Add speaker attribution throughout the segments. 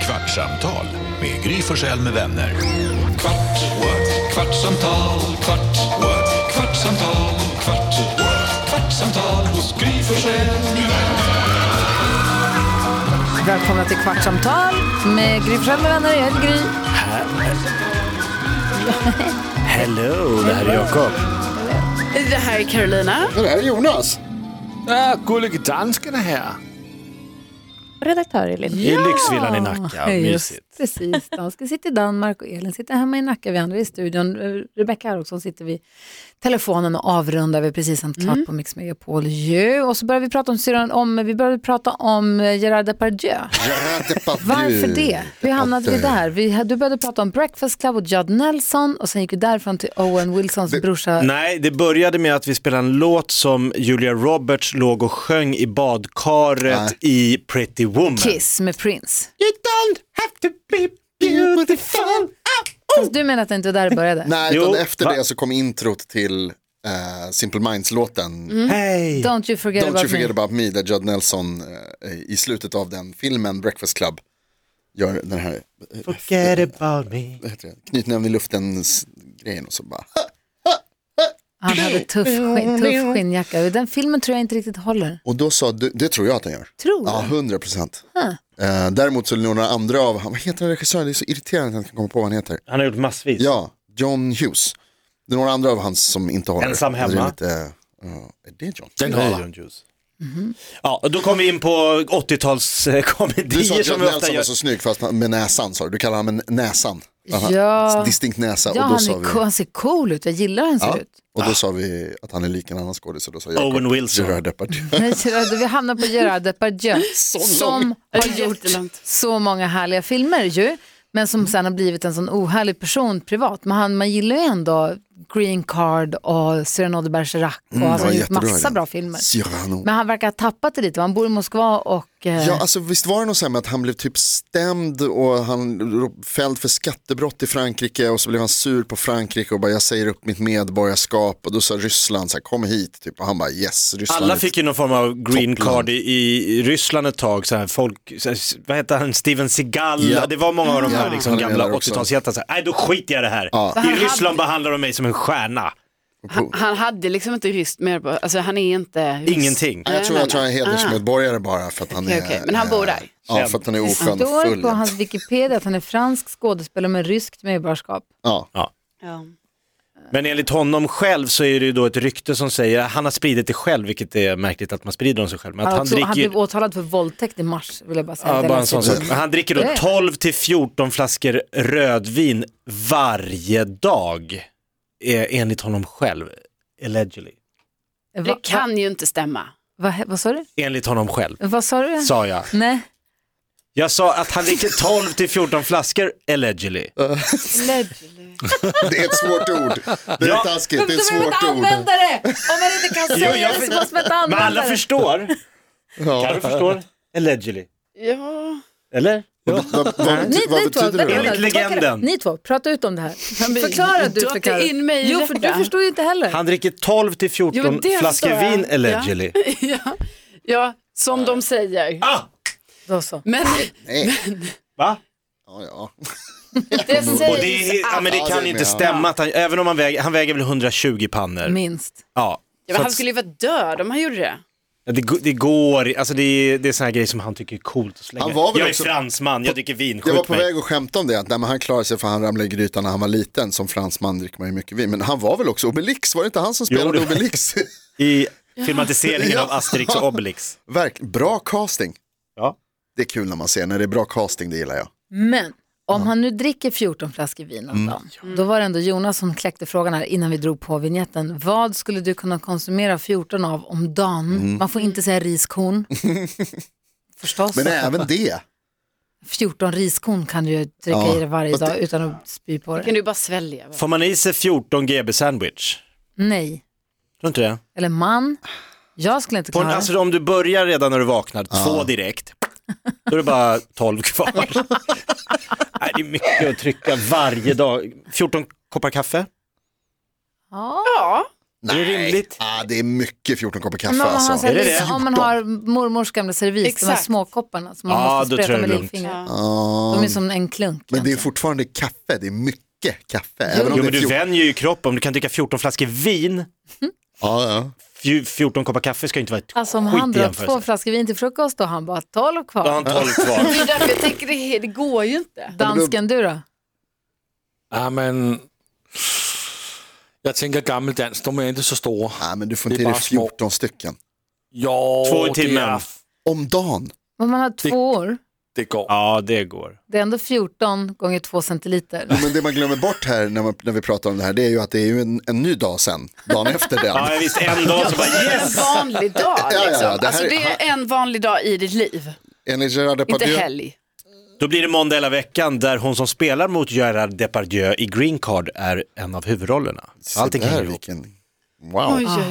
Speaker 1: Kvartsamtal med Gry Forssell med vänner.
Speaker 2: Kvart, what? kvartsamtal, kvart, what? kvartsamtal, kvart, what? kvartsamtal hos Gry Forssell med vänner.
Speaker 3: Välkomna till Kvartsamtal med Gry Forssell med vänner. Jag heter Gry.
Speaker 4: Hello, det här är Jakob.
Speaker 5: Det här är Carolina.
Speaker 6: Det här är Jonas.
Speaker 4: Ah, gullige dansken är här.
Speaker 3: Redaktör Elin.
Speaker 4: I lyxvillan i Nacka,
Speaker 3: Just,
Speaker 4: mysigt.
Speaker 3: precis. Dansken sitter i Danmark och Elin sitter hemma i Nacka. Vi andra är i studion. Rebecca här också. Hon sitter vid telefonen och avrundar. Vi har precis sänt klart på Mix Megapol ju. Och så börjar vi prata om syran om, vi började prata om eh, Gerard Depardieu. Varför det? Hur hamnade vi där? Vi, du började prata om Breakfast Club och Judd Nelson och sen gick vi därifrån till Owen Wilsons brorsa.
Speaker 4: Nej, det började med att vi spelade en låt som Julia Roberts låg och sjöng i badkaret
Speaker 6: Nej.
Speaker 4: i Pretty Woman.
Speaker 3: Kiss med Prince.
Speaker 4: You don't have to be beautiful.
Speaker 3: Fast du menar att det inte var där det började?
Speaker 6: Nej, utan
Speaker 4: Jo,
Speaker 6: efter
Speaker 4: va?
Speaker 6: det så kom introt till eh, Simple
Speaker 3: Mm.
Speaker 6: Minds-låten
Speaker 4: Hej!
Speaker 3: Don't you forget
Speaker 6: Don't
Speaker 3: about
Speaker 6: you forget
Speaker 3: me.
Speaker 6: about me, där Judd Nelson eh, i slutet av den filmen Breakfast Club gör den här eh,
Speaker 4: Forget about me.
Speaker 6: vad heter det? knytnäven i luften-grejen och så bara
Speaker 3: Han hade tuff, skinn,
Speaker 6: Mm,
Speaker 3: tuff skinnjacka. Den filmen tror jag inte riktigt håller.
Speaker 6: Och då sa du, det tror jag att han gör.
Speaker 3: Tror
Speaker 6: Ja,
Speaker 3: du?
Speaker 6: hundra procent. Eh, Däremot så några andra av, vad heter den regissören? Det är så irriterande att jag inte kan komma på vad han heter.
Speaker 4: Han har gjort massvis.
Speaker 6: Ja, John Hughes. Det är några andra av hans som inte håller.
Speaker 4: Ensam hemma.
Speaker 6: Det är, lite, eh, ja, är det John?
Speaker 4: Den har han. Mm-hmm. Ja, och då kom vi in på 80-talskomedier
Speaker 6: Du sa
Speaker 4: som
Speaker 6: att
Speaker 4: vi
Speaker 6: John
Speaker 4: ofta
Speaker 6: Nelson
Speaker 4: gör.
Speaker 6: var så snygg fast med näsan sa du. Du kallar honom en näsan. Aha,
Speaker 3: Ja.
Speaker 6: Distinkt näsa.
Speaker 3: Ja,
Speaker 6: och då
Speaker 3: han,
Speaker 6: sa
Speaker 3: är, Ah.
Speaker 6: vi,
Speaker 3: cool- han ser cool ut. Jag gillar hur han ser
Speaker 6: ja,
Speaker 3: ut.
Speaker 6: och då sa vi att han är lik en annan skådis. och Då sa jag
Speaker 4: Owen Wilson.
Speaker 6: Gerard Depardieu.
Speaker 3: Nej, Gerard, Vi hamnar på Gerard Depardieu som
Speaker 5: Det
Speaker 3: har
Speaker 5: är
Speaker 3: gjort
Speaker 5: jättelångt.
Speaker 3: så många härliga filmer ju, men som sen har blivit en sån ohärlig person privat. Men han, man gillar ju ändå Green Card och Cyrano de Bergerac och alltså,
Speaker 6: Mm, ja,
Speaker 3: han har gjort
Speaker 6: jättebra
Speaker 3: massa
Speaker 6: idé.
Speaker 3: bra filmer.
Speaker 6: Cyrano.
Speaker 3: Men han verkar ha tappat det lite. va? Han bor i Moskva och... eh,
Speaker 6: Ja, alltså visst var det något så här med att han blev typ stämd och han ro- fälld för skattebrott i Frankrike och så blev han sur på Frankrike och bara jag säger upp mitt medborgarskap och då sa Ryssland så här kom hit typ och han bara yes Ryssland.
Speaker 4: Alla
Speaker 6: är-
Speaker 4: fick ju någon form av green
Speaker 6: Toppland.
Speaker 4: card i, i Ryssland ett tag, så här, folk, så här, vad heter han, Steven Seagal,
Speaker 6: Ja.
Speaker 4: det var många av de här
Speaker 6: Ja.
Speaker 4: liksom,
Speaker 6: Han är
Speaker 4: gamla
Speaker 6: där också.
Speaker 4: 80-talshjältarna, så här, nej då skiter jag i det här. I Ryssland behandlar de mig som en stjärna,
Speaker 5: Han, han hade liksom inte ryst mer, på- alltså han är inte ryss.
Speaker 4: ingenting.
Speaker 6: Nej, jag tror
Speaker 5: Nej,
Speaker 6: jag tror han är
Speaker 3: Ah.
Speaker 5: nej, nej.
Speaker 6: hedersmedborgare bara för att han
Speaker 5: Okej,
Speaker 6: är.
Speaker 5: okej. Men han bor
Speaker 6: eh,
Speaker 5: där.
Speaker 6: Ja, för att han är
Speaker 3: Det
Speaker 6: oskön och
Speaker 3: står
Speaker 6: full.
Speaker 3: på hans Wikipedia att han är fransk skådespelare med ryskt medborgarskap.
Speaker 6: Ja.
Speaker 5: Ja.
Speaker 4: Men enligt honom själv så är det ju då ett rykte som säger, han har spridit det själv, vilket är märkligt att man sprider om sig själv, men att
Speaker 3: Han,
Speaker 4: han,
Speaker 3: också, han
Speaker 4: dricker
Speaker 3: blev åtalad för våldtäkt i mars, vill jag bara säga.
Speaker 4: Ja,
Speaker 3: Det
Speaker 4: bara en
Speaker 5: alltså
Speaker 3: läste jag
Speaker 4: sån sak. Men Han dricker då
Speaker 3: Det är-
Speaker 4: 12 till 14 flaskor rödvin varje dag, eh, enligt honom själv, allegedly.
Speaker 3: Va,
Speaker 5: Det
Speaker 3: va,
Speaker 5: kan ju inte stämma.
Speaker 3: va, vad sa du?
Speaker 4: Enligt honom själv,
Speaker 3: Vad sa du?
Speaker 4: sa jag.
Speaker 3: Nej,
Speaker 4: Jag sa att han dricker 12 till 14 flaskor allegedly.
Speaker 6: Det är ett svårt ord. Det är
Speaker 4: Ja.
Speaker 6: taskigt, det är ett svårt ord.
Speaker 3: det! Om man inte kan
Speaker 4: säga jag det så för-
Speaker 3: måste man inte
Speaker 4: Men alla förstår. Alla
Speaker 6: Ja.
Speaker 4: förstår. Allegedly.
Speaker 5: Ja,
Speaker 4: Eller?
Speaker 6: Vad, vad,
Speaker 3: Ni,
Speaker 6: vad, bety- vad
Speaker 3: ni två,
Speaker 6: betyder
Speaker 3: vänta,
Speaker 6: det? då?
Speaker 4: Enligt
Speaker 3: vänta,
Speaker 4: legenden.
Speaker 3: Ni två, prata ut om det här.
Speaker 5: men-
Speaker 3: Förklara du
Speaker 5: dra
Speaker 3: för
Speaker 5: inte
Speaker 3: Karo.
Speaker 5: in mig i
Speaker 3: Jo, för du
Speaker 5: detta.
Speaker 3: förstår ju inte heller.
Speaker 4: Han dricker 12 till 14
Speaker 5: Jo, men det
Speaker 4: flaskor
Speaker 5: förstår jag.
Speaker 4: vin allegedly.
Speaker 5: ja som de säger.
Speaker 4: Ah!
Speaker 3: Då så.
Speaker 5: Men
Speaker 6: Nej.
Speaker 4: Va?
Speaker 6: Ja, ja.
Speaker 5: det
Speaker 4: Och det, är,
Speaker 5: sägs
Speaker 4: ja,
Speaker 5: att...
Speaker 4: men det
Speaker 6: Ja,
Speaker 4: kan
Speaker 6: det är
Speaker 4: inte
Speaker 6: med.
Speaker 4: stämma, att han, även om han väger, han väger väl 120 pannor.
Speaker 3: Minst.
Speaker 4: Ja.
Speaker 5: Ja, men han skulle ju vara död om han gjorde det.
Speaker 4: Ja, Det, go- det går, alltså det är, det är såna här grejer som han tycker är coolt att slänga.
Speaker 6: Han var väl
Speaker 4: jag är
Speaker 6: också-
Speaker 4: fransman, jag dricker vin,
Speaker 6: Jag var
Speaker 4: skjut
Speaker 6: på
Speaker 4: mig.
Speaker 6: väg att skämta om det, att nej, men han klarade sig för han ramlade i grytan när han var liten. Som fransman dricker man ju mycket vin. Men han var väl också Obelix, var det inte han som spelade
Speaker 4: det var-
Speaker 6: Obelix?
Speaker 4: I filmatiseringen
Speaker 6: Ja.
Speaker 4: av Asterix och Obelix.
Speaker 6: Verk, bra casting.
Speaker 4: Ja.
Speaker 6: Det är kul när man ser, när det är bra casting, det gillar jag.
Speaker 3: Men om han nu dricker 14 flaskor vin
Speaker 4: Mm.
Speaker 3: om dagen, då var det ändå Jonas som kläckte frågan här innan vi drog på vignetten. Vad skulle du kunna konsumera 14 av om dagen?
Speaker 4: Mm.
Speaker 3: Man får inte säga riskorn. Förstås.
Speaker 6: Men även det.
Speaker 3: 14 riskorn kan du ju dricka
Speaker 6: Ja,
Speaker 3: i dig varje
Speaker 6: fast
Speaker 3: dag
Speaker 6: det-
Speaker 3: utan att spy på det.
Speaker 5: Kan du bara svälja? va?
Speaker 4: Får man i sig 14 GB sandwich?
Speaker 3: Nej.
Speaker 4: Tror inte det?
Speaker 3: Eller man. Jag skulle inte
Speaker 4: På en,
Speaker 3: klara det.
Speaker 4: alltså om du börjar redan när du vaknar, två direkt, då är det bara 12 kvar. Nej, det är mycket att trycka varje dag. 14 koppar kaffe?
Speaker 3: Ja,
Speaker 5: Ja,
Speaker 4: Är det rimligt?
Speaker 6: Ah, det är mycket 14 koppar kaffe
Speaker 3: Men om, man har,
Speaker 6: alltså.
Speaker 3: så här
Speaker 4: Är det
Speaker 3: lite-
Speaker 4: det?
Speaker 3: om man har mormors gamla servis, de här
Speaker 5: Exakt.
Speaker 3: småkopparna som man
Speaker 4: Ja,
Speaker 3: måste
Speaker 4: då tror
Speaker 3: spreta
Speaker 4: jag
Speaker 3: med
Speaker 4: det är lugnt.
Speaker 3: lillfingret.
Speaker 6: Ja,
Speaker 3: De är som en klunk.
Speaker 6: Ah. men det är
Speaker 3: egentligen.
Speaker 6: fortfarande kaffe, det är mycket kaffe. Även om
Speaker 4: Jo,
Speaker 6: det
Speaker 4: men
Speaker 6: är
Speaker 4: du
Speaker 6: 14...
Speaker 4: vänjer ju kroppen. Om du kan dricka 14 flaskor vin,
Speaker 6: ja, ja.
Speaker 4: fju- 14 koppar kaffe ska ju inte vara ett
Speaker 3: Alltså om
Speaker 4: skit
Speaker 3: han
Speaker 4: i
Speaker 3: drar
Speaker 4: jämförelse.
Speaker 3: två flaskor vin till frukost då har han bara tolv kvar.
Speaker 4: Då har han 12 kvar.
Speaker 5: Det är därför jag tänker det, det går ju inte.
Speaker 3: Dansken, du då?
Speaker 7: Ja, men... Jeg tænker gammeldans, de er ikke så store.
Speaker 6: Nej, Ah, men du får
Speaker 7: Det är
Speaker 6: inte i dig
Speaker 7: bara små.
Speaker 6: 14 stycken.
Speaker 7: Jo,
Speaker 4: Två i
Speaker 7: det
Speaker 4: timmen.
Speaker 7: er-
Speaker 6: Om dagen.
Speaker 3: Om man har två år,
Speaker 7: Det går.
Speaker 4: Ja, det går.
Speaker 3: det är ändå 14 gånger 2 centiliter.
Speaker 6: Men det man glömmer bort här när, man, när vi pratar om det här, det är ju att det är ju en, en ny dag sen. Dagen efter den.
Speaker 4: Ja, visst, en dag så bara yes!
Speaker 5: En vanlig dag.
Speaker 6: ja, ja,
Speaker 5: Liksom.
Speaker 6: det här
Speaker 5: alltså,
Speaker 6: är-
Speaker 5: det är en vanlig dag i ditt liv,
Speaker 6: Enligt Gerard
Speaker 5: inte
Speaker 6: Depardieu.
Speaker 5: helg.
Speaker 4: Då blir det måndag hela veckan där hon som spelar mot Gerard Depardieu i Green Card är en av huvudrollerna.
Speaker 6: Så
Speaker 4: Allting
Speaker 6: där,
Speaker 4: hänger ihop.
Speaker 6: vilken... Wow.
Speaker 5: Oj, oj,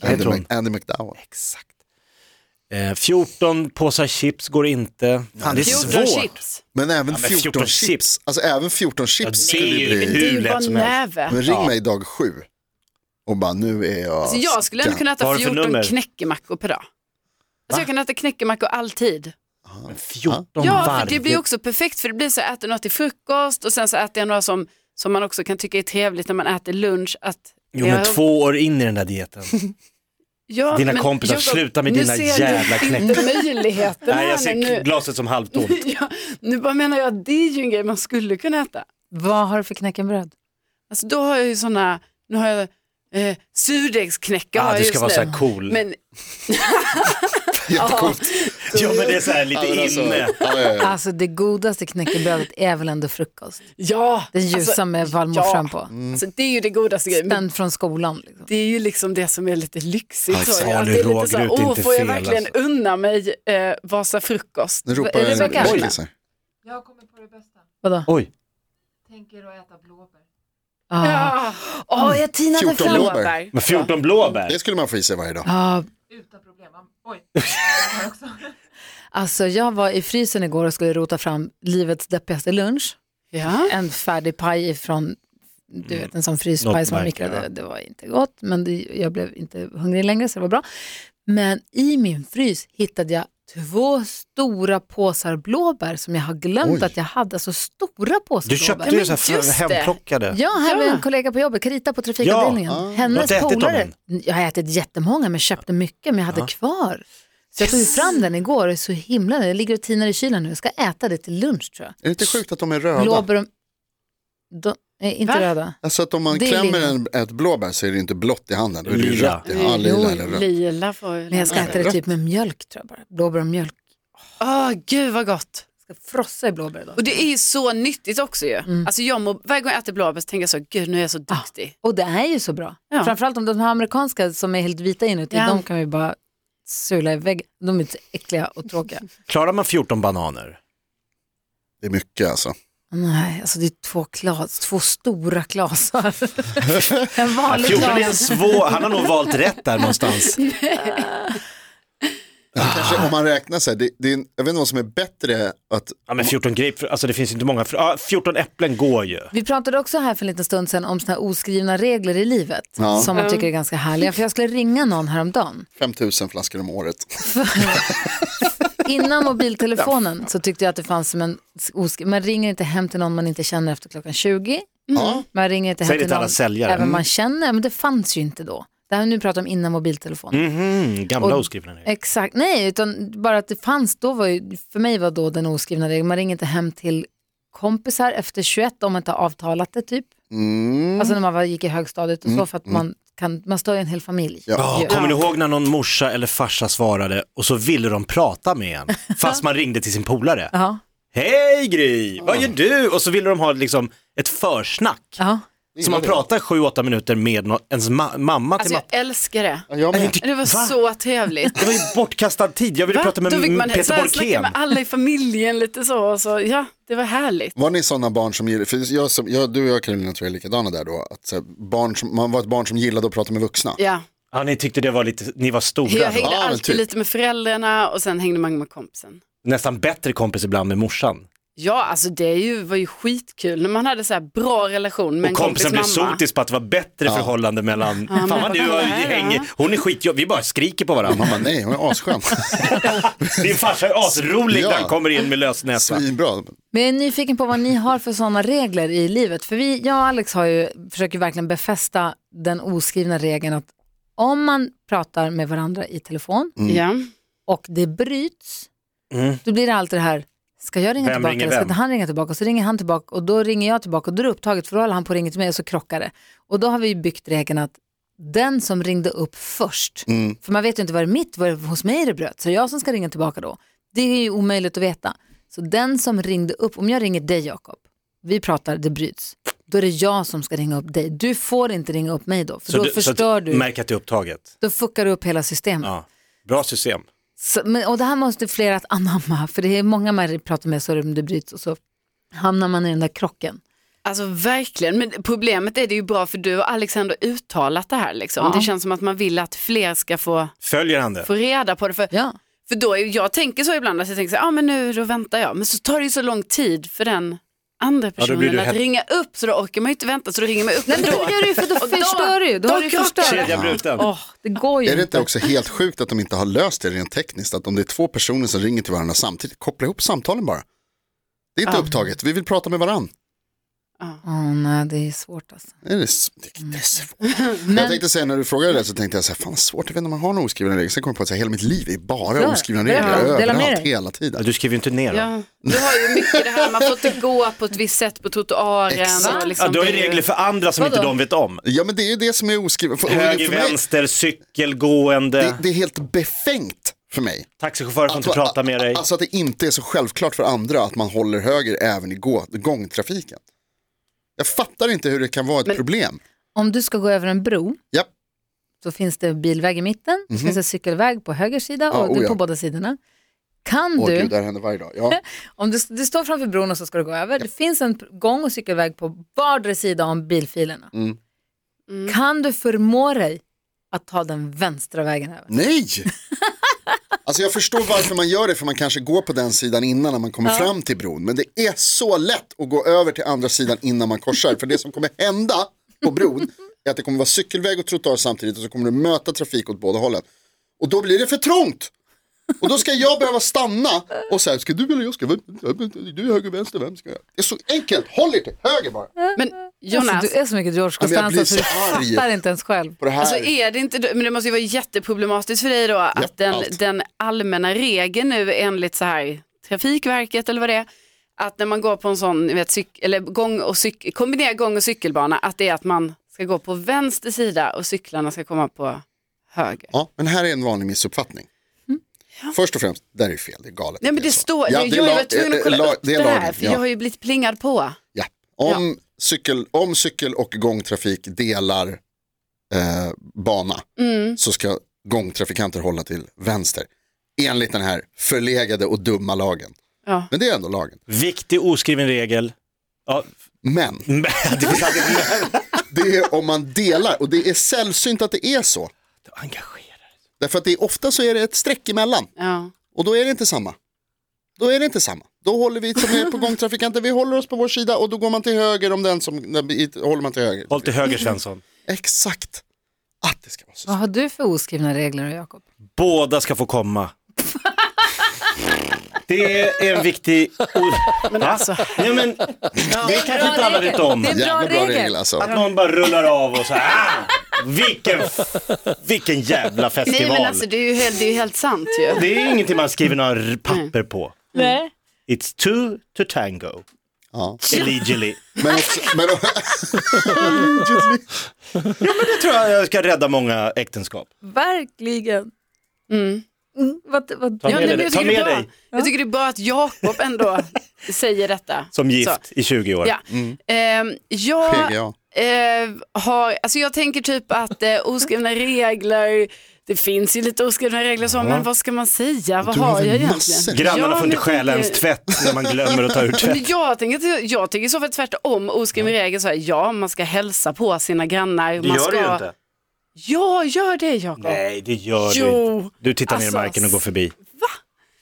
Speaker 5: oj.
Speaker 6: Andy,
Speaker 4: tror
Speaker 6: Mc, Andy McDowell.
Speaker 4: Exakt. Eh, 14 påsar chips går inte. Fan, det är
Speaker 5: 14
Speaker 4: svårt.
Speaker 5: chips.
Speaker 6: Men även
Speaker 4: men
Speaker 6: 14,
Speaker 4: 14
Speaker 6: chips.
Speaker 4: chips.
Speaker 6: Alltså även 14 chips
Speaker 4: det
Speaker 6: skulle
Speaker 4: är ju
Speaker 6: det bli.
Speaker 4: hur
Speaker 5: Du
Speaker 4: lätt
Speaker 5: var
Speaker 4: som helst.
Speaker 5: näve.
Speaker 6: Men ring mig dag sju och bara nu är jag...
Speaker 5: Alltså, jag skulle ändå kunna
Speaker 4: Vad har
Speaker 5: äta
Speaker 4: du för nummer?
Speaker 5: 14 knäckemackor per dag. Alltså, jag kan äta knäckemackor alltid.
Speaker 4: 14
Speaker 5: Ja,
Speaker 4: varje...
Speaker 5: för det blir också perfekt för det blir så jag äter något till frukost och sen så äter jag några som, som man också kan tycka är trevligt när man äter lunch. Att
Speaker 4: Jo, men
Speaker 5: jag-
Speaker 4: två år in i den där dieten.
Speaker 5: Ja,
Speaker 4: Dina kompisar, sluta med dina jävla knäck.
Speaker 5: Nu ser du inte möjligheten
Speaker 4: Nej, jag
Speaker 5: här
Speaker 4: ser
Speaker 5: nu.
Speaker 4: glaset som halvtomt.
Speaker 5: Ja, nu bara menar jag att det är ju en grej man skulle kunna äta.
Speaker 3: Vad har du för knäckebröd?
Speaker 5: Alltså då har jag ju sådana, nu har jag eh, surdegsknäcka har
Speaker 4: Ah,
Speaker 5: jag
Speaker 4: du ska
Speaker 5: just
Speaker 4: vara
Speaker 5: nu.
Speaker 4: så här cool.
Speaker 5: Men
Speaker 4: Jo, men det är så här lite
Speaker 6: Ja, men alltså,
Speaker 4: inne.
Speaker 6: ja, ja, ja.
Speaker 3: Alltså det godaste knäckebrödet är väl ändå frukost?
Speaker 5: ja,
Speaker 3: Den
Speaker 4: Alltså,
Speaker 3: ljusa med vallmorsan på.
Speaker 4: Mm.
Speaker 5: alltså, det är ju det godaste grejen. Men
Speaker 3: Den från skolan. Liksom.
Speaker 5: det är ju liksom det som är lite lyxigt.
Speaker 4: Aj,
Speaker 5: så,
Speaker 4: salig
Speaker 5: att det är lite
Speaker 4: rågryt
Speaker 5: så här,
Speaker 4: är
Speaker 5: åh,
Speaker 4: inte
Speaker 5: får jag
Speaker 4: fel,
Speaker 5: verkligen
Speaker 4: alltså."
Speaker 5: unna mig eh, Vasa frukost?
Speaker 6: Nu ropar
Speaker 3: Är det
Speaker 6: jag
Speaker 3: Rebecca?
Speaker 6: en Oj.
Speaker 3: Vadå?
Speaker 4: Oj,
Speaker 3: Ah. Ja,
Speaker 5: Ja,
Speaker 3: Åh, jag tinade
Speaker 6: 14
Speaker 3: fram.
Speaker 6: blåbär.
Speaker 5: blåbär.
Speaker 4: men 14 blåbär.
Speaker 6: Det skulle man få i sig varje dag.
Speaker 3: Ja. Alltså jag var i frysen igår och skulle rota fram livets deppigaste lunch.
Speaker 5: Ja.
Speaker 3: En färdig paj från, du vet en sån fryspaj
Speaker 4: Något
Speaker 3: som man
Speaker 4: märke,
Speaker 3: mikrade.
Speaker 4: ja.
Speaker 3: Det var inte gott men det, jag blev inte hungrig längre så det var bra. Men i min frys hittade jag två stora påsar blåbär som jag har glömt
Speaker 6: Oj.
Speaker 3: att jag hade. Alltså stora påsar
Speaker 4: Du
Speaker 3: blåbär.
Speaker 4: köpte ju
Speaker 5: men
Speaker 4: så här
Speaker 5: just det.
Speaker 4: hemplockade.
Speaker 3: Ja, här var
Speaker 5: Ja.
Speaker 3: en kollega på jobbet, Carita på trafikavdelningen.
Speaker 6: Ja.
Speaker 4: Har
Speaker 3: Hennes
Speaker 4: du ätit dem
Speaker 3: polare.
Speaker 4: än?
Speaker 3: Jag har ätit jättemånga men köpte mycket men jag hade kvar. Så jag tog ju fram den igår och är så himla nöjd. Jag ligger och tinar i kylen nu. Jag ska äta det till lunch tror jag.
Speaker 6: Är det inte sjukt att de är röda?
Speaker 3: Blåbär och... De... Nej, inte
Speaker 5: Va?
Speaker 3: röda.
Speaker 6: Alltså att om man
Speaker 3: Det är
Speaker 6: klämmer
Speaker 3: lila.
Speaker 6: en, ett blåbär så är det inte blått i handen. Då är det ju
Speaker 4: Lila.
Speaker 6: rött i handen. Ja,
Speaker 5: Jo,
Speaker 6: lila eller rött.
Speaker 5: Lila får jag
Speaker 3: Men jag ska
Speaker 5: lämna.
Speaker 3: äta det typ med mjölk tror jag bara. Blåbär och mjölk.
Speaker 5: Åh, gud vad gott.
Speaker 3: Jag ska frossa i blåbär idag.
Speaker 5: Och det är ju så nyttigt också ju. Alltså jag mår, varje gång jag äter blåbär så tänker jag så, gud nu är jag så duktig.
Speaker 3: Och Mm. Ah, det är ju så bra.
Speaker 5: Ja.
Speaker 3: Framförallt om de här amerikanska som är helt vita inuti,
Speaker 5: Ja.
Speaker 3: de kan vi bara sula i väggen. De är inte så äckliga och tråkiga.
Speaker 4: Klarar man 14 bananer?
Speaker 6: Det är mycket alltså.
Speaker 3: Nej, alltså det är två, klas, två stora klasar. en vanlig
Speaker 4: 14 är en
Speaker 3: klas.
Speaker 4: svår, han har nog valt rätt där någonstans.
Speaker 6: Kanske om man räknar så här, det, det är, en- jag vet inte vad som är bättre att...
Speaker 4: Ja men 14 grape, alltså det finns inte många, ja, 14 äpplen går ju.
Speaker 3: Vi pratade också här för en liten stund sedan om såna här oskrivna regler i livet
Speaker 6: Ja.
Speaker 3: som man tycker är ganska härliga. För jag skulle ringa någon häromdagen.
Speaker 6: 5000 flaskor om året.
Speaker 3: Innan mobiltelefonen så tyckte jag att det fanns som en oskri- man ringer inte hem till någon man inte känner efter klockan 20.
Speaker 6: Ja,
Speaker 3: Man ringer inte hem
Speaker 4: Säg det
Speaker 3: till
Speaker 4: till alla
Speaker 3: någon
Speaker 4: säljare. Mm.
Speaker 3: även man känner, men det fanns ju inte då. Det här nu pratar om innan mobiltelefonen.
Speaker 4: Mhm, gamla
Speaker 3: Och-
Speaker 4: oskrivna regler.
Speaker 3: Exakt, nej, utan bara att det fanns då var ju, för mig var då den oskrivna regeln, man ringer inte hem till kompisar efter 21 om man inte har avtalat det typ. Alltså när man var, gick i högstadiet och så för att man kan, man stör ju en hel familj.
Speaker 4: Ja,
Speaker 3: Ju.
Speaker 4: kommer ni ihåg när någon morsa eller farsa svarade och så ville de prata med en fast man ringde till sin polare.
Speaker 3: Ja,
Speaker 4: Hej Gry, vad gör du? Och så ville de ha liksom ett försnack.
Speaker 3: ja.
Speaker 4: Så man pratar 7-8 minuter med nå- ens ma- mamma till
Speaker 5: Alltså
Speaker 4: ma-
Speaker 5: jag älskar det.
Speaker 6: Ja, jag med.
Speaker 5: Det var så trevligt.
Speaker 4: Det var ju bortkastad tid, jag ville
Speaker 5: Va?
Speaker 4: prata med
Speaker 5: Då fick man så
Speaker 4: Peter
Speaker 5: här snacka
Speaker 4: Borkén.
Speaker 5: med alla i familjen lite så, och så. Ja, det var härligt.
Speaker 6: Var ni sådana barn som gillade, för jag, som, jag, du och jag Karolina tror jag är likadana där då, att så här, barn som, man var ett barn som gillade att prata med vuxna.
Speaker 5: Ja.
Speaker 4: Ja, ni tyckte det var lite, ni var stora.
Speaker 5: Jag
Speaker 4: då.
Speaker 5: hängde
Speaker 6: men
Speaker 5: alltid
Speaker 6: typ.
Speaker 5: lite med föräldrarna och sen hängde man med kompisen.
Speaker 4: Nästan bättre kompis ibland med morsan.
Speaker 5: Ja, alltså det är ju, var ju skitkul när man hade så här bra relation med en
Speaker 4: och kompisen blev
Speaker 5: kompis mamma.
Speaker 4: sotis på att det var bättre förhållande mellan, fan vad
Speaker 5: men-
Speaker 4: du och hänger, hon är skitjobbig, vi bara skriker på varandra.
Speaker 6: Mamma, nej, hon är asskön.
Speaker 4: Din farsa är asrolig när
Speaker 6: Ja.
Speaker 4: han kommer in med lös näsa.
Speaker 6: Svinbra.
Speaker 3: Men jag är nyfiken på vad ni har för sådana regler i livet. För vi, jag och Alex har ju, försöker verkligen befästa den oskrivna regeln att om man pratar med varandra i telefon
Speaker 5: Ja.
Speaker 3: och det bryts,
Speaker 4: Mm.
Speaker 3: då blir det alltid det här, ska jag ringa
Speaker 4: Vem
Speaker 3: tillbaka
Speaker 4: ringer
Speaker 3: eller ska
Speaker 4: vem?
Speaker 3: inte han ringa tillbaka? Och så ringer han tillbaka och då ringer jag tillbaka och då är det upptaget för då håller han på och ringer till mig och så krockar det. Och då har vi ju byggt regeln att den som ringde upp först,
Speaker 4: Mm.
Speaker 3: för man vet ju inte vad det är mitt, vad det är hos mig det bröt, så det är jag som ska ringa tillbaka då. Det är ju omöjligt att veta. Så den som ringde upp, om jag ringer dig Jakob, vi pratar, det bryts, då är det jag som ska ringa upp dig. Du får inte ringa upp mig då, för då
Speaker 4: du-
Speaker 3: förstör
Speaker 4: att
Speaker 3: du,
Speaker 4: Märk att det är upptaget.
Speaker 3: då fuckar du upp hela systemet.
Speaker 4: Ja. Bra system.
Speaker 3: Så, men, och det här måste fler att anamma, för det är många man pratar med så om det bryts och så hamnar man i den där krocken.
Speaker 5: Alltså verkligen, men problemet är det ju bra för du och Alexander har uttalat det här liksom.
Speaker 3: Ja.
Speaker 5: Det känns som att man vill att fler ska få,
Speaker 4: Följer han det?
Speaker 5: få reda på det. För,
Speaker 3: Ja.
Speaker 5: för då är, jag tänker så ibland att jag tänker så här, ah, men nu då väntar jag. Men så tar det ju så lång tid för den andra
Speaker 4: då blir
Speaker 5: personen
Speaker 4: du
Speaker 5: att
Speaker 4: het-
Speaker 5: ringa upp så då orkar man ju inte vänta så då ringer man upp
Speaker 3: Nej, men då
Speaker 5: ändå.
Speaker 3: gör du ju, för då
Speaker 5: Och då-
Speaker 3: förstör du ju. Då har du ju
Speaker 5: krockar
Speaker 3: förstört.
Speaker 5: det.
Speaker 4: Kedja bruten.
Speaker 3: Åh, det går ju
Speaker 6: Är det inte också helt sjukt att de inte har löst det rent tekniskt? Att om det är två personer som ringer till varandra samtidigt, koppla ihop samtalen bara. Det är inte upptaget, vi vill prata med varandra.
Speaker 3: Åh, nej, det är svårt alltså.
Speaker 6: Det är, s- det
Speaker 3: Mm.
Speaker 6: det är svårt. Jag tänkte säga när du frågade det så tänkte jag så här, fan svårt, jag vet inte om man har några oskrivna regler. Sen kom jag på att så här, hela mitt liv är bara
Speaker 3: Ja,
Speaker 6: oskrivna
Speaker 3: dela-
Speaker 6: regler,
Speaker 3: dela med
Speaker 6: överallt,
Speaker 3: dig.
Speaker 6: hela
Speaker 4: Ja,
Speaker 6: tiden.
Speaker 4: du skriver ju inte ner dem.
Speaker 5: Ja. Du har ju mycket det här, man får inte gå på ett visst sätt på
Speaker 6: Exakt.
Speaker 5: trottoaren. och
Speaker 4: Ja,
Speaker 5: Liksom,
Speaker 4: du har ju
Speaker 5: det är ju-
Speaker 4: regler för andra som inte
Speaker 3: Vadå?
Speaker 4: de vet om.
Speaker 6: Ja men det är ju det som är oskrivet. För,
Speaker 4: Höger,
Speaker 6: för mig,
Speaker 4: vänster, cykel, gående,
Speaker 6: det, det är helt befängt för mig.
Speaker 4: taxichaufförer får inte
Speaker 6: Att-
Speaker 4: prata med dig.
Speaker 6: Alltså att det inte är så självklart för andra att man håller höger även i gå- gångtrafiken. Jag fattar inte hur det kan vara ett problem.
Speaker 3: Om du ska gå över en bro
Speaker 6: Japp.
Speaker 3: så finns det bilväg i mitten, så finns det cykelväg på höger sida och
Speaker 6: Ja,
Speaker 3: du
Speaker 6: Mhm. oh ja.
Speaker 3: på båda sidorna. Kan
Speaker 6: Åh
Speaker 3: du,
Speaker 6: gud, det här händer varje dag. Ja.
Speaker 3: om du, du står framför bron och så ska du gå över, det finns en gång och cykelväg på vardera sida om bilfilerna.
Speaker 6: Mm.
Speaker 3: Kan du förmå dig att ta den vänstra vägen över?
Speaker 6: Nej! Alltså jag förstår varför man gör det, för man kanske går på den sidan innan när man kommer fram till bron. Men det är så lätt att gå över till andra sidan innan man korsar. För det som kommer hända på bron är att det kommer vara cykelväg och trottoar samtidigt och så kommer du möta trafik åt båda hållen. Och då blir det för trångt! Och då ska jag behöva stanna och säga, ska du eller jag ska, du är höger, vänster, vem ska jag? Det är så enkelt, håll er till höger bara.
Speaker 5: Men Jonas,
Speaker 3: Alltså, du är så mycket George
Speaker 6: men jag
Speaker 3: Costanza så du
Speaker 6: blir så arg.
Speaker 3: fattar inte ens själv.
Speaker 6: På det här.
Speaker 5: Alltså är det inte, men det måste ju vara jätteproblematiskt för dig då att
Speaker 6: Japp,
Speaker 5: den,
Speaker 6: allt.
Speaker 5: den allmänna regeln nu enligt så här Trafikverket eller vad det är, att när man går på en sån, ni vet, cyk, eller gång och cyk, kombinera gång och cykelbana, att det är att man ska gå på vänster sida och cyklarna ska komma på höger.
Speaker 6: Ja, men här är en vanlig missuppfattning. Först och främst, det här är fel, det är galet.
Speaker 5: Mm. Nej men det
Speaker 6: så.
Speaker 5: står,
Speaker 6: Ja,
Speaker 5: jag,
Speaker 6: det är
Speaker 5: jag
Speaker 6: lag-
Speaker 5: var tvungen
Speaker 6: eh,
Speaker 5: att kolla
Speaker 6: lag-
Speaker 5: upp det,
Speaker 6: är
Speaker 5: här
Speaker 6: lagen,
Speaker 5: för
Speaker 6: ja.
Speaker 5: jag har ju blivit plingad på.
Speaker 6: Ja. Om, Cykel, om cykel och gångtrafik delar eh, bana
Speaker 5: Mm.
Speaker 6: så ska gångtrafikanter hålla till vänster. Enligt den här förlegade och dumma lagen.
Speaker 5: Ja.
Speaker 6: Men det är ändå lagen.
Speaker 4: Viktig oskriven regel. Ja,
Speaker 6: Men
Speaker 4: men det finns alltid
Speaker 6: det är om man delar och det är sällsynt att det är så.
Speaker 4: engagerad.
Speaker 6: Därför att det är, ofta så är det ett streck emellan
Speaker 5: Ja.
Speaker 6: och då är det inte samma. Då är det inte samma. Då håller vi som är på gångtrafikanter, vi håller oss på vår sida och då går man till höger om den som, den, i- håller man till höger.
Speaker 4: Håll till höger Svensson.
Speaker 6: Exakt. Att det ska vara så.
Speaker 3: Vad har du för oskrivna regler då, Jakob?
Speaker 4: Båda ska få komma. Det är en viktig... Men alltså. Nej, men, det kanske inte alla vet om.
Speaker 3: Det är en bra
Speaker 6: Jävla bra
Speaker 3: regel.
Speaker 6: regel alltså.
Speaker 4: Att någon bara rullar av och så här. "Ah, Vilken, vilken jävla
Speaker 5: Nej
Speaker 4: festival.
Speaker 5: men alltså det är ju helt, det är ju helt sant ju.
Speaker 4: Det är ingenting man skriver några r- papper på.
Speaker 3: Mm. Nej.
Speaker 4: It's two to tango.
Speaker 6: Ja.
Speaker 4: Illegally.
Speaker 6: Men också, men,
Speaker 4: Det tror jag ska rädda många äktenskap.
Speaker 3: Verkligen.
Speaker 5: Mm.
Speaker 3: Mm, vad, vad,
Speaker 4: Ta
Speaker 5: Ja,
Speaker 4: med,
Speaker 5: nej, men
Speaker 4: dig,
Speaker 5: jag,
Speaker 4: ta
Speaker 5: tycker
Speaker 4: med
Speaker 5: det är bra.
Speaker 4: dig
Speaker 5: jag tycker det är bra att Jakob ändå säger detta.
Speaker 4: som gift Mm.
Speaker 5: Så.
Speaker 4: i 20 år.
Speaker 5: Ja. Ehm, jag,
Speaker 6: PGA.
Speaker 5: ehm, har, alltså jag tänker typ att eh, oskrivna regler, det finns ju lite oskrivna regler så, men vad ska man säga? Vad
Speaker 6: Du
Speaker 5: har
Speaker 6: har väl
Speaker 5: jag
Speaker 6: massor.
Speaker 5: egentligen?
Speaker 4: Grannarna
Speaker 5: Ja,
Speaker 4: får inte
Speaker 5: men jag
Speaker 4: stjäla ens
Speaker 5: tänker-
Speaker 4: tvätt när man glömmer att ta ur tvätt.
Speaker 5: Men jag tänker, jag tänker så för tvärtom, oskriven regel så här, ja man ska hälsa på sina grannar. Man ska... Ja, gör det Jakob.
Speaker 4: Nej, det gör du
Speaker 5: Jo.
Speaker 4: inte. Du tittar ner
Speaker 5: Alltså,
Speaker 4: i marken och går förbi.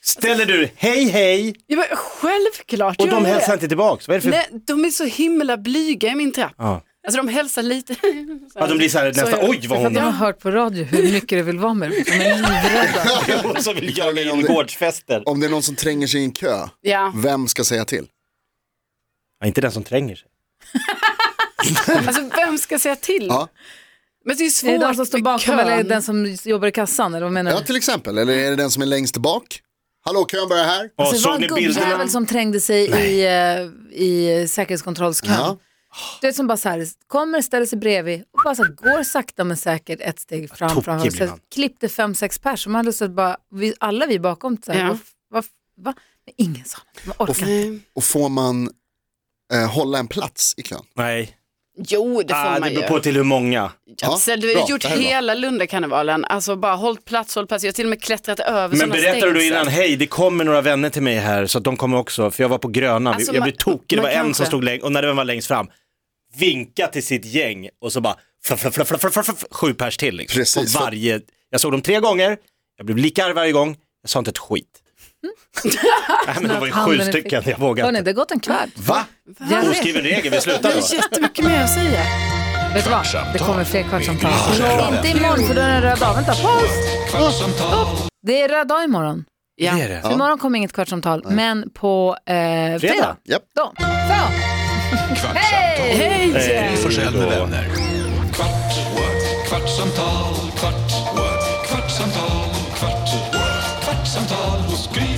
Speaker 4: Ställer du hej hej
Speaker 5: Ja, men självklart
Speaker 4: och
Speaker 5: gör
Speaker 4: de
Speaker 5: jag
Speaker 4: hälsar
Speaker 5: det.
Speaker 4: inte tillbaks? Vad är det för...
Speaker 5: Nej, de är så himla blyga i min trapp.
Speaker 4: Ja.
Speaker 5: Alltså de hälsar lite.
Speaker 4: Ja, de blir så här nästan, oj vad hon
Speaker 3: Jag har hört på radio hur mycket du vill vara med dem. De är livrädda.
Speaker 4: Och så vill jag lägga in gårdsfester.
Speaker 6: Om det är någon som tränger sig i en kö,
Speaker 5: Ja,
Speaker 6: vem ska säga till?
Speaker 4: Ja, inte den som tränger sig. Mm.
Speaker 5: alltså vem ska säga till?
Speaker 6: Ja.
Speaker 5: Men det är
Speaker 3: Är det
Speaker 5: svårt
Speaker 3: den som står
Speaker 5: med
Speaker 3: bakom
Speaker 5: kön.
Speaker 3: eller är det den som jobbar i kassan? Eller vad menar
Speaker 6: Ja,
Speaker 3: du?
Speaker 6: till exempel. Eller är det den som är längst bak? Hallå, kön börjar här.
Speaker 4: Ja,
Speaker 3: Alltså, det var
Speaker 4: såg
Speaker 3: en
Speaker 4: ni bilderna?
Speaker 3: gubbjävel som trängde sig i, eh, i säkerhetskontrollskön.
Speaker 6: Ja.
Speaker 3: Det är som bara så här, kommer, ställer sig bredvid och bara så här, går sakta men säkert ett steg fram.
Speaker 4: tokig
Speaker 3: fram
Speaker 4: blir
Speaker 3: så
Speaker 4: man.
Speaker 3: klippte fem, sex pers som hade sett bara, vi, alla vi bakom, så här,
Speaker 5: Ja.
Speaker 3: ja. va, va? Men ingen sa något, man orkar inte.
Speaker 5: Nej.
Speaker 6: Och får man eh, hålla en plats i kön?
Speaker 4: Nej,
Speaker 5: Jo, det får
Speaker 4: ah, det
Speaker 5: man ju.
Speaker 4: beror på till hur många.
Speaker 6: Ja,
Speaker 5: Alltså, du
Speaker 6: bra,
Speaker 5: har gjort
Speaker 6: det här är bra.
Speaker 5: hela Lundakarnevalen, alltså bara hållit plats, hållit plats. Jag har till och med klättrat över
Speaker 4: Men
Speaker 5: sådana
Speaker 4: berättade du
Speaker 5: stängsel.
Speaker 4: innan, hej det kommer några vänner till mig här så att de kommer också, för jag var på Grönan,
Speaker 5: Alltså,
Speaker 4: jag
Speaker 5: man-
Speaker 4: blev tokig, det
Speaker 5: man
Speaker 4: var en
Speaker 5: kanske-
Speaker 4: som stod längst, och när den var längst fram, vinka till sitt gäng och så bara, fla, fla, fla, fla, fla, fla, fla, sju pers till liksom.
Speaker 6: Precis,
Speaker 4: På
Speaker 6: för-
Speaker 4: varje, jag såg dem tre gånger, jag blev lika arg varje gång, jag sa inte ett skit.
Speaker 5: Mm.
Speaker 4: Nej men det var ju sju
Speaker 3: Handen i
Speaker 4: stycken,
Speaker 3: fickan.
Speaker 4: jag vågade
Speaker 3: Hörni,
Speaker 4: inte. Mm.
Speaker 3: det har gått en kvart.
Speaker 4: Va?
Speaker 3: Jag vet,
Speaker 4: Oskriven regel, vi slutar
Speaker 5: Det
Speaker 4: då.
Speaker 5: är jättemycket mer att säga.
Speaker 3: vet du vad? Det kommer fler kvartsamtal. Inte imorgon för då är det en röd dag. Vänta, paus!
Speaker 2: Kvartsamtal,
Speaker 3: Det är röd dag imorgon.
Speaker 5: Ja.
Speaker 4: Det är det.
Speaker 3: Så imorgon kommer inget kvartsamtal, men på eh, fredag.
Speaker 4: Fredag.
Speaker 6: Japp.
Speaker 3: Då. Så.
Speaker 1: Kvartsamtal,
Speaker 5: Hej!
Speaker 1: Gry Forssell med vänner.
Speaker 2: kvart, what? kvartsamtal, kvart, what? kvartsamtal, kvart, what? kvartsamtal hos Gry